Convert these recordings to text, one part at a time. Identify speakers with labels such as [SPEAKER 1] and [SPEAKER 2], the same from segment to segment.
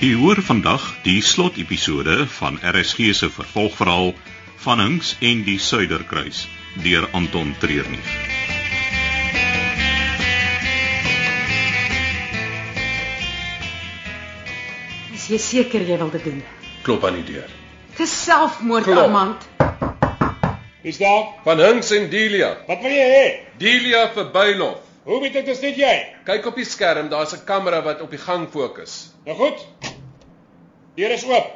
[SPEAKER 1] U hoor vandag die slotepisode van RSG se vervolgverhaal van Hinks en die Suiderkruis deur Anton Treurnig.
[SPEAKER 2] Is jy seker jy wil dit doen?
[SPEAKER 3] Klop aan die deur.
[SPEAKER 2] Dis selfmoord,
[SPEAKER 3] Klop.
[SPEAKER 2] Armand.
[SPEAKER 4] Is daar?
[SPEAKER 3] Van Hinks en Delia.
[SPEAKER 4] Wat wil jy hê?
[SPEAKER 3] Delia verbylof.
[SPEAKER 4] Hoe weet ek dis nie jy?
[SPEAKER 3] Kyk op die skerm, daar's 'n kamera wat op die gang fokus.
[SPEAKER 4] Nou goed. Deur is oop.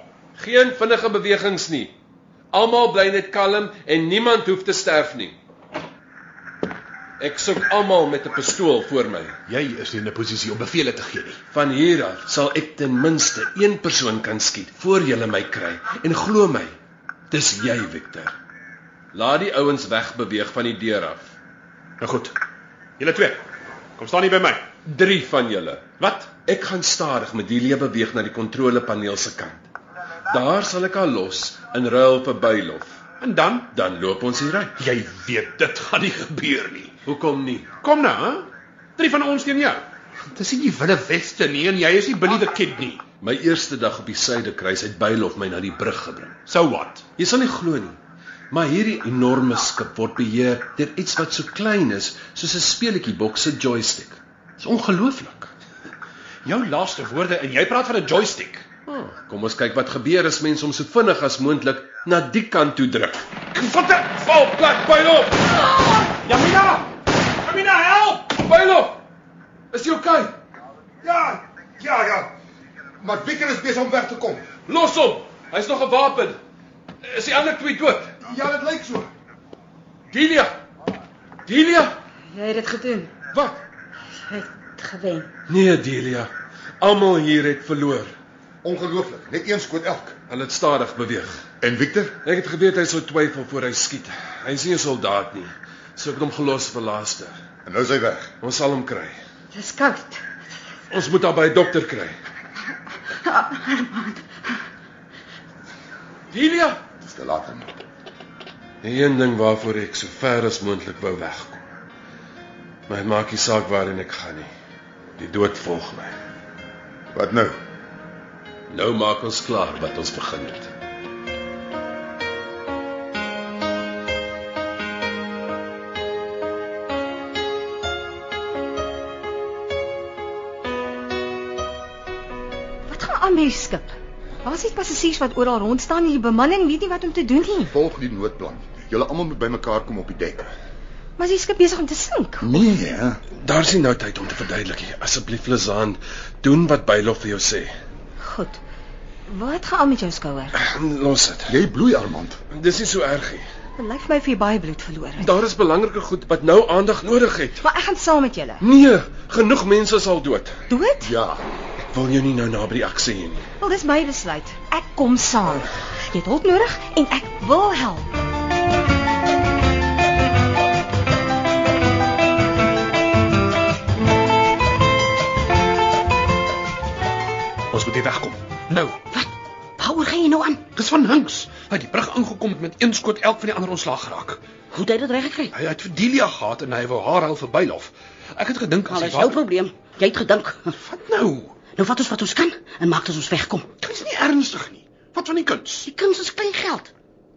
[SPEAKER 3] Geen vinnige bewegings nie. Almal bly net kalm en niemand hoef te sterf nie. Ek soek almal met 'n pistool voor my.
[SPEAKER 5] Jy is nie in 'n posisie om bevele te gee nie.
[SPEAKER 3] Van hier af sal ek ten minste een persoon kan skiet voor julle my kry. En glo my, dis jy, Victor. Laat die ouens wegbeweeg van die deur af.
[SPEAKER 5] Nou goed.
[SPEAKER 4] Julle twee. Kom staan hier by my.
[SPEAKER 3] Drie van julle.
[SPEAKER 4] Wat?
[SPEAKER 3] Ek gaan stadig met die lewe beweeg na die kontrolepaneel se kant. Daar sal ek haar los in ruil vir bylof.
[SPEAKER 5] En dan,
[SPEAKER 3] Dan loop ons hier uit.
[SPEAKER 5] jy weet dit gaan nie gebeur nie.
[SPEAKER 3] Hoekom nie?
[SPEAKER 5] Kom nou, hè? Drie van ons teen jou. Dis nie die Wille Weste nie en jy is nie Billy the Kid nie.
[SPEAKER 3] My eerste dag op die suidekruis het bylof my na die brug gebring.
[SPEAKER 5] So what?
[SPEAKER 3] Jy sal nie glo nie. Maar hierdie enorme skip word beheer deur iets wat so klein is soos 'n speletjie boks se joystick. Dis ongelooflik.
[SPEAKER 5] Jou laaste woorde en jy praat van 'n joystick.
[SPEAKER 3] Oh, kom ons kyk wat gebeur as mens hom so vinnig as moontlik na die kant toe druk.
[SPEAKER 5] Vatte, val plek by hom.
[SPEAKER 4] Jamina! Jamina, help!
[SPEAKER 3] Bylof! Is jy oukei? Okay?
[SPEAKER 6] Ja, ja, ja. Maar Victor is besig om weg te kom.
[SPEAKER 3] Los hom. Hy's nog gewapen. Is die ander twee dood?
[SPEAKER 6] Ja, dit lyk so.
[SPEAKER 3] Delia. Delia?
[SPEAKER 2] Jy het dit gedoen.
[SPEAKER 3] Wat?
[SPEAKER 2] Jy het gewen.
[SPEAKER 3] Nee, Delia. Almal hier het verloor.
[SPEAKER 6] Ongelooflik. Net een skoot elk.
[SPEAKER 3] Hulle het stadig beweeg.
[SPEAKER 6] En Victor?
[SPEAKER 3] Ek het geweet hy sou twyfel voor hy skiet. Hy's nie 'n soldaat nie. So ek het hom gelos vir laaste.
[SPEAKER 6] En nou is hy weg.
[SPEAKER 3] Ons sal hom kry.
[SPEAKER 2] Dis koud.
[SPEAKER 3] Ons moet hom by 'n dokter kry. Delia,
[SPEAKER 6] Dis te laat. hè?
[SPEAKER 3] Die een ding waarvoor ek so ver as moontlik wou wegkom. Maar dit maak nie saak waarheen ek gaan nie. Die dood volg my.
[SPEAKER 6] Wat nou?
[SPEAKER 3] Nou maak ons klaar wat ons begin het.
[SPEAKER 7] Wat gaan aan met die skip? Daar's nie passasiers wat oral rond staan nie. Die bemanning weet nie wat om te doen nie.
[SPEAKER 6] Volg die noodplan. Julle almal moet bymekaar kom op die dek.
[SPEAKER 7] Maar is die skip besig om te sink.
[SPEAKER 6] Nee, hè.
[SPEAKER 3] Daar's nie nou tyd om te verduidelik nie. Asseblief Lizaan, doen wat Bylof vir jou sê.
[SPEAKER 7] Goed. Wat gaan aan met jou skouer?
[SPEAKER 3] Los dit.
[SPEAKER 6] Jy bloei Armand.
[SPEAKER 3] Dis nie so erg nie.
[SPEAKER 7] Dit lyk vir my vir jy baie bloed verloor het.
[SPEAKER 3] Daar is belangriker goed wat nou aandag nodig het.
[SPEAKER 7] Maar ek gaan saam met julle.
[SPEAKER 3] Nee, genoeg mense is al dood.
[SPEAKER 7] Dood?
[SPEAKER 6] Ja.
[SPEAKER 3] Ek wil jou nie nou naby die aksie hê nie.
[SPEAKER 7] Wel, dis my besluit. Ek kom saam. Jy het hulp nodig en ek wil help.
[SPEAKER 5] Ons moet hier wegkom. Nou,
[SPEAKER 7] Waaroor gaan jy nou aan?
[SPEAKER 5] dis van Hinks. Hy het die brug aangekom en met een skoot elk van die ander ontslaag geraak.
[SPEAKER 8] Hoe het hy dit reg gekry?
[SPEAKER 5] Hy het vir Delia gehad en hy wou haar al verbylof. Ek het gedink as
[SPEAKER 8] Al
[SPEAKER 5] hy
[SPEAKER 8] is jou probleem. Jy het gedink.
[SPEAKER 5] Wat nou?
[SPEAKER 8] Nou vat ons wat ons kan en maak dat ons wegkom.
[SPEAKER 5] Dit is nie ernstig nie. Wat van die kuns?
[SPEAKER 8] Die kuns is klein geld.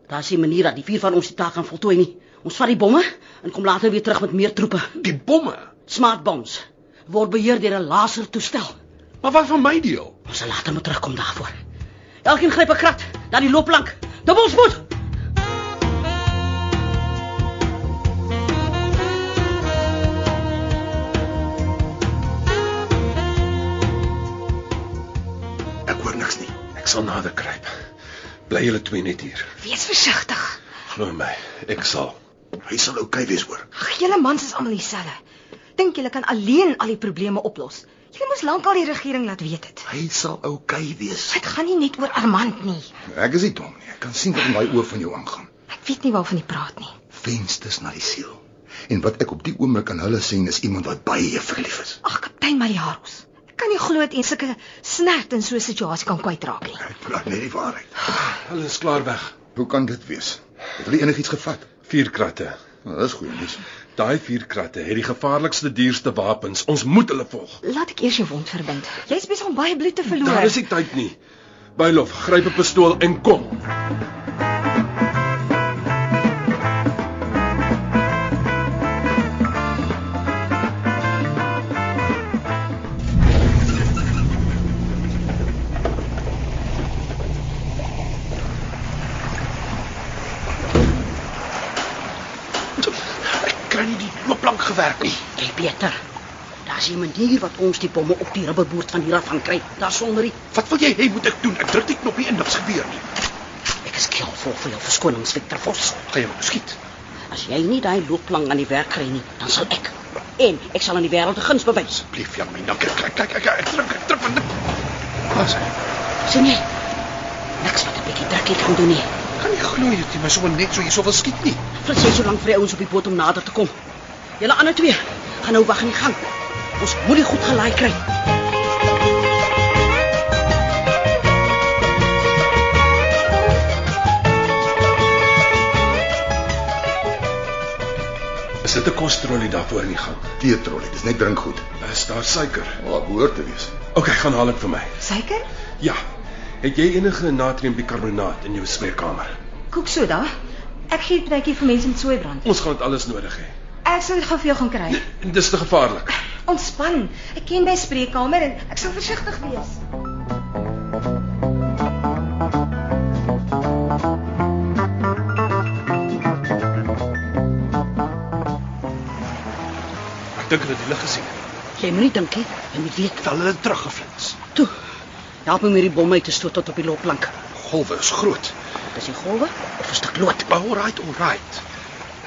[SPEAKER 8] Daar's nie 'n manier dat die vier van ons die taak gaan voltooi nie. Ons vat die bomme en kom later weer terug met meer troepe.
[SPEAKER 5] Die bomme.
[SPEAKER 8] Smart bombs word beheer deur 'n lasertoestel.
[SPEAKER 5] Maar wat van my deel?
[SPEAKER 8] Ons sal later moet terugkom daarvoor. Elkeen gryp 'n krat, dan die looplank. Dubbelspoed.
[SPEAKER 5] Ek hoor niks nie.
[SPEAKER 3] Ek sal nader kruip. Bly julle twee net hier.
[SPEAKER 7] Wees versigtig.
[SPEAKER 3] Glo my, ek sal.
[SPEAKER 5] Hy sal oukei okay wees hoor.
[SPEAKER 7] Ag, julle mans is almal dieselfde. Dink julle kan alleen al die probleme oplos. Julle moes lankal die regering laat weet het.
[SPEAKER 5] Hy sal oukei okay wees.
[SPEAKER 7] Dit gaan nie net oor Armand nie.
[SPEAKER 6] Ek is nie dom nie. Ek kan sien wat in daai oë van jou aangaan.
[SPEAKER 7] Ek weet nie waarvan jy praat nie.
[SPEAKER 6] Vensters na die siel. En wat ek op die oomblik aan hulle sien is iemand wat baie verlief is.
[SPEAKER 7] Ag, kaptein Mariaros. Ek kan nie glo dat jy sulke snert in so 'n situasie kan kwytraak nie.
[SPEAKER 6] Ek praat net die waarheid.
[SPEAKER 3] Hulle is klaar weg.
[SPEAKER 6] Hoe kan dit wees? Het hulle enigiets gevat?
[SPEAKER 3] Vier kratte.
[SPEAKER 6] Nou, dis goeie nuus.
[SPEAKER 3] Daai vier kratte het die gevaarlikste dierste wapens. Ons moet hulle volg.
[SPEAKER 7] Laat ek eers jou wond verbind. Jy's besig om baie bloed te verloor.
[SPEAKER 3] Daar is nie Nou, tyd nie. Bylof, gryp 'n pistool en kom.
[SPEAKER 5] Ek kry nie die loopplank gewerk nie.
[SPEAKER 8] Jy beter. Daar's 'n manier wat ons die bomme op die rubberboord van hier af gaan kry. Daar sonder die
[SPEAKER 5] Wat wil jy hê moet ek doen? Ek druk die knoppie en niks gebeur nie.
[SPEAKER 8] ek is keel vol vir jou verskonings Victor Vos.
[SPEAKER 5] Gaan jy moet skiet.
[SPEAKER 8] As jy nie daai loopplank aan die werk kry nie, dan sal ek en ek sal aan die wêreld 'n guns bewys.
[SPEAKER 5] Blief jang my. Nou kyk, kyk, kyk, kyk, ek druk, ek druk want Pas.
[SPEAKER 8] sien jy? Niks wat 'n bietjie drukkie kan doen nie.
[SPEAKER 5] Kan nie glo jy dit maar sommer net so hierso wil skiet nie.
[SPEAKER 8] Frits is so lank vir die ouens op die boot om nader te kom. Julle ander twee gaan nou wag in die gang. Ons moet die goed gelaai kry.
[SPEAKER 3] Is dit 'n kostrollie daarvoor in die gang?
[SPEAKER 6] Teetrollie, dis net drinkgoed.
[SPEAKER 3] Is daar suiker?
[SPEAKER 6] Wat behoort te wees.
[SPEAKER 3] OK, gaan haal dit vir my.
[SPEAKER 7] Suiker?
[SPEAKER 3] Ja. Het jy enige natriumbikarbonaat in jou smeerkamer?
[SPEAKER 7] Kook soda. Ek gee 'n plekkie vir mense met soebrand.
[SPEAKER 3] Ons gaan dit alles nodig hê.
[SPEAKER 7] Ek sal dit gou vir jou gaan kry.
[SPEAKER 3] En dis te gevaarlik.
[SPEAKER 7] Ontspan. Ek ken my spreekkamer en ek sal versigtig wees.
[SPEAKER 5] Ek dink hulle het die lig gesien.
[SPEAKER 8] Jy moenie dink nie, jy moet weet.
[SPEAKER 5] Val hulle teruggeflits.
[SPEAKER 8] Toe. Help my met die bomme uit te stoot tot op die loopplank.
[SPEAKER 5] Golwe is groot.
[SPEAKER 8] Dis die golwe of 'n stuk lood.
[SPEAKER 5] Alright, alright.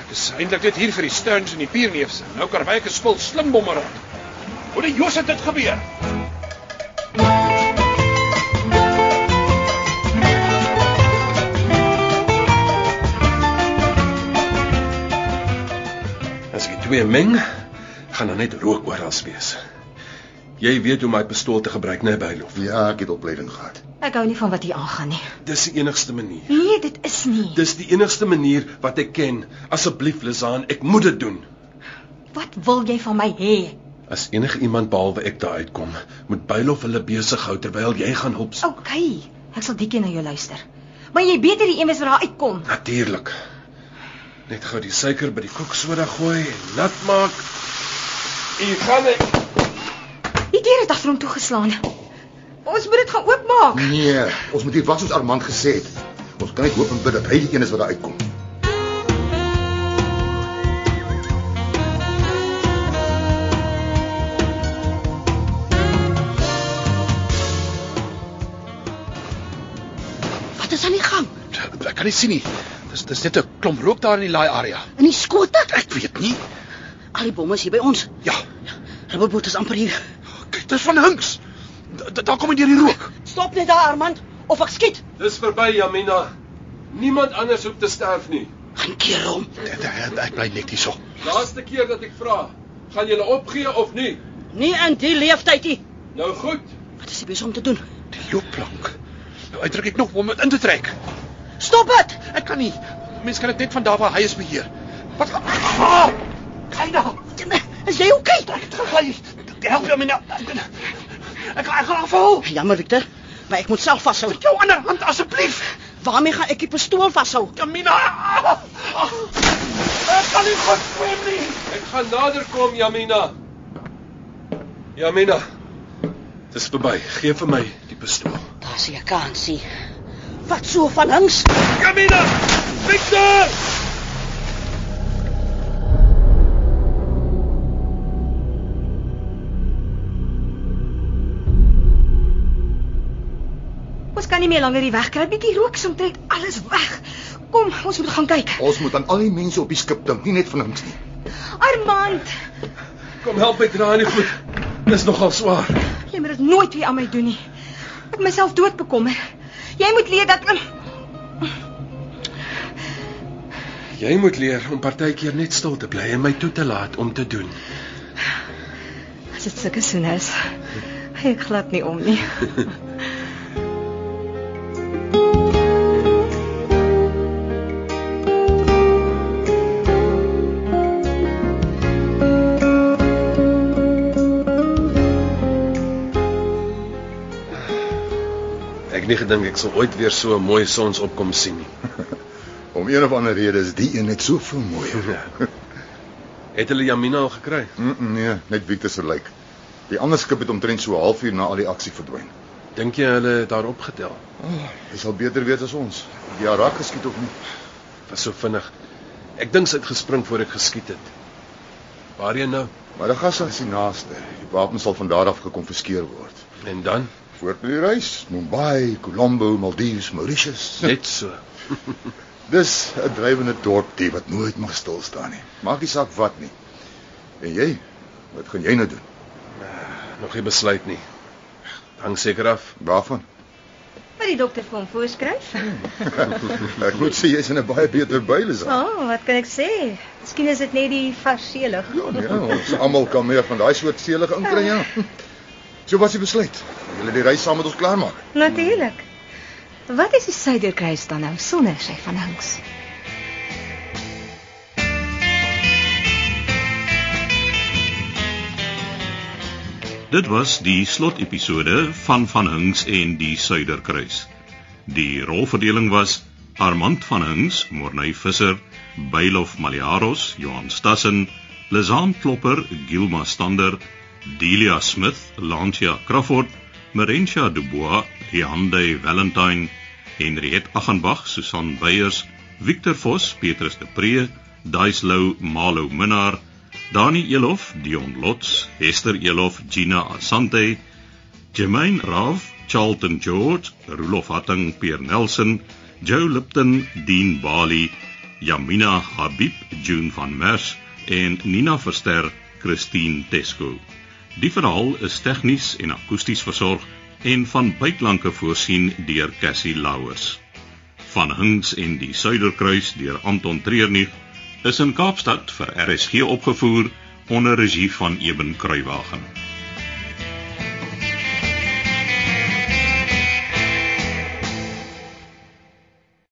[SPEAKER 5] Ek is eintlik net hier vir die Sterns en die Pierneefse. Nou kan wyk gespil slim bommer op. Hoe die Jos het dit gebeur?
[SPEAKER 3] As ek die twee meng, gaan daar net rook oral wees. Jy weet hoe om my pistool te gebruik, né, Bylof?
[SPEAKER 6] Ja, ek het opleiding gehad.
[SPEAKER 7] Ek hou nie van wat hier aangaan nie.
[SPEAKER 3] Dis die enigste manier.
[SPEAKER 7] Nee, dit is nie.
[SPEAKER 3] Dis die enigste manier wat ek ken. Asseblief, Lizaan, ek moet dit doen.
[SPEAKER 7] Wat wil jy van my hê?
[SPEAKER 3] As enige iemand behalwe ek daar uitkom, moet Bylof hulle besig hou terwyl jy gaan help.
[SPEAKER 7] OK, ek sal diekie na jou luister. Maar jy beter die een wees wat daar uitkom.
[SPEAKER 3] Natuurlik. Net gou die suiker by die koeksoda gooi en nat maak. Hier gaan ek.
[SPEAKER 7] Die deur het agter hom toegeslaan. Ons moet dit gaan oopmaak.
[SPEAKER 6] Nee, ons moet hier was ons Armand gesê het. Ons kan net hoop en bid dat hy die een is wat daar uitkom.
[SPEAKER 8] Wat is aan die gang?
[SPEAKER 5] Ek kan nie sien nie. Dis dis net 'n klomp rook daar in die laai area.
[SPEAKER 8] In die skote?
[SPEAKER 5] Ek weet nie.
[SPEAKER 8] Al die bomme is hier by ons.
[SPEAKER 5] Ja,
[SPEAKER 8] Rubberboot is amper hier.
[SPEAKER 5] kyk, dis van Hinks. Da- da- Daar kom hy deur die rook.
[SPEAKER 8] Stop net daar, Armand, of ek skiet.
[SPEAKER 3] Dis verby, Jamina. Niemand anders hoef te sterf nie.
[SPEAKER 8] Gaan keer hom.
[SPEAKER 5] Ek, ek bly net hierso.
[SPEAKER 3] Laaste keer dat ek vra, gaan julle opgee of nie?
[SPEAKER 8] Nie in die leeftyd nie.
[SPEAKER 3] Nou goed.
[SPEAKER 8] Wat is die besig om te doen?
[SPEAKER 5] Die loopplank. Nou uitdruk ek nog om dit in te trek.
[SPEAKER 8] Stop dit.
[SPEAKER 5] Ek kan nie. Mense kan dit net van daar waar hy is beheer. Wat? Ah! Kyk daar.
[SPEAKER 8] Is jy oukei?
[SPEAKER 5] Ek het gegly. Help jou my nou. Ek ek gaan afval.
[SPEAKER 8] Jammer, Victor, maar ek moet self vashou.
[SPEAKER 5] Jou ander hand asseblief.
[SPEAKER 8] Waarmee gaan ek die pistool vashou?
[SPEAKER 5] Kamina. Ek kan nie goed swem nie.
[SPEAKER 3] Ek gaan nader kom, Jamina. Jamina. Dis verby. Gee vir my die pistool.
[SPEAKER 8] Daar's jy kan sien. Wat so van links?
[SPEAKER 5] Kamina. Victor!
[SPEAKER 7] Ons kan nie meer langer die weg kry. Bietjie rook somtrent alles weg. Kom, ons moet gaan kyk.
[SPEAKER 6] Ons moet aan al die mense op die skip dink, nie net van ons nie.
[SPEAKER 7] Armand,
[SPEAKER 3] Kom help my dra nie goed. Dis nogal swaar.
[SPEAKER 7] jy moet dit nooit weer aan my doen nie. Ek het myself dood bekommer. Jy moet leer dat
[SPEAKER 3] Jy moet leer om partykeer net stil te bly en my toe te laat om te doen.
[SPEAKER 7] as dit sulke soene is, gee ek glad nie om nie.
[SPEAKER 3] Ek het nie gedink ek sal ooit weer so 'n mooi sonsopkom sien nie.
[SPEAKER 6] Om een of ander rede is die een net soveel mooier.
[SPEAKER 3] Ja. Het hulle Jamina al gekry?
[SPEAKER 6] Mm, mm, nee, net Victor se lyk. Die ander skip het omtrent so 'n halfuur na al die aksie verdwyn.
[SPEAKER 3] Dink jy hulle het haar opgetel?
[SPEAKER 6] Hy sal beter weet as ons. Die Arak geskiet of nie.
[SPEAKER 3] Was so vinnig. Ek dink sy het gespring voor ek geskiet het. Waarheen nou?
[SPEAKER 6] Maar die gas is die naaste. Die wapens sal van daar af gekonfiskeer word.
[SPEAKER 3] En dan
[SPEAKER 6] Voort met die reis, Mumbai, Colombo, Maldives, Mauritius.
[SPEAKER 3] net so.
[SPEAKER 6] Dis 'n drywende dorpie wat nooit mag stil staan nie. Maak nie saak wat nie. En jy, wat gaan jy nou doen?
[SPEAKER 3] Nog nie besluit nie. Hang seker af.
[SPEAKER 6] Waarvan?
[SPEAKER 9] Wat die dokter vir hom voorskryf?
[SPEAKER 6] Ek moet sê jy's in 'n baie beter bylis.
[SPEAKER 9] O, oh, wat kan ek sê? Miskien is dit net die varseelig.
[SPEAKER 6] Ja, nee, ons almal kan meer van daai soort selige inkry, ja. So was die besluit. Julle die reis saam met ons klaarmaak.
[SPEAKER 9] Natuurlik. Wat is die suiderkruis dan nou sonder sy van Hinks?
[SPEAKER 1] Dit was die slotepisode van Van Hinks en die Suiderkruis. Die rolverdeling was Armand van Hinks, Morney Visser, Bylof Maliaros, Johan Stassen, Lezaan Klopper, Gilma Stander, Delia Smith, Lantia Crawford, Marentia Dubois, Hyande Valentine, Henriet Aggenbach, Susan Beyers, Victor Vos, Petrus de Pre, Daislou Malo Minnar, Dani Elof, Dion Lots, Hester Elof, Gina Asante, Jermaine Raaf, Charlton George, Rolof Hatting, Pierre Nelson, Joe Lipton, Dean Bali, Yamina Habib, June van Merwe en Nina Verster, Christine Tesco. Die verhaal is tegnies en akoesties versorg en van byklanke voorsien deur Cassie Louws. Van Hinks en die Suiderkruis deur Anton Treurnig is in Kaapstad vir RSG opgevoer onder regie van Eben Kruiwagen.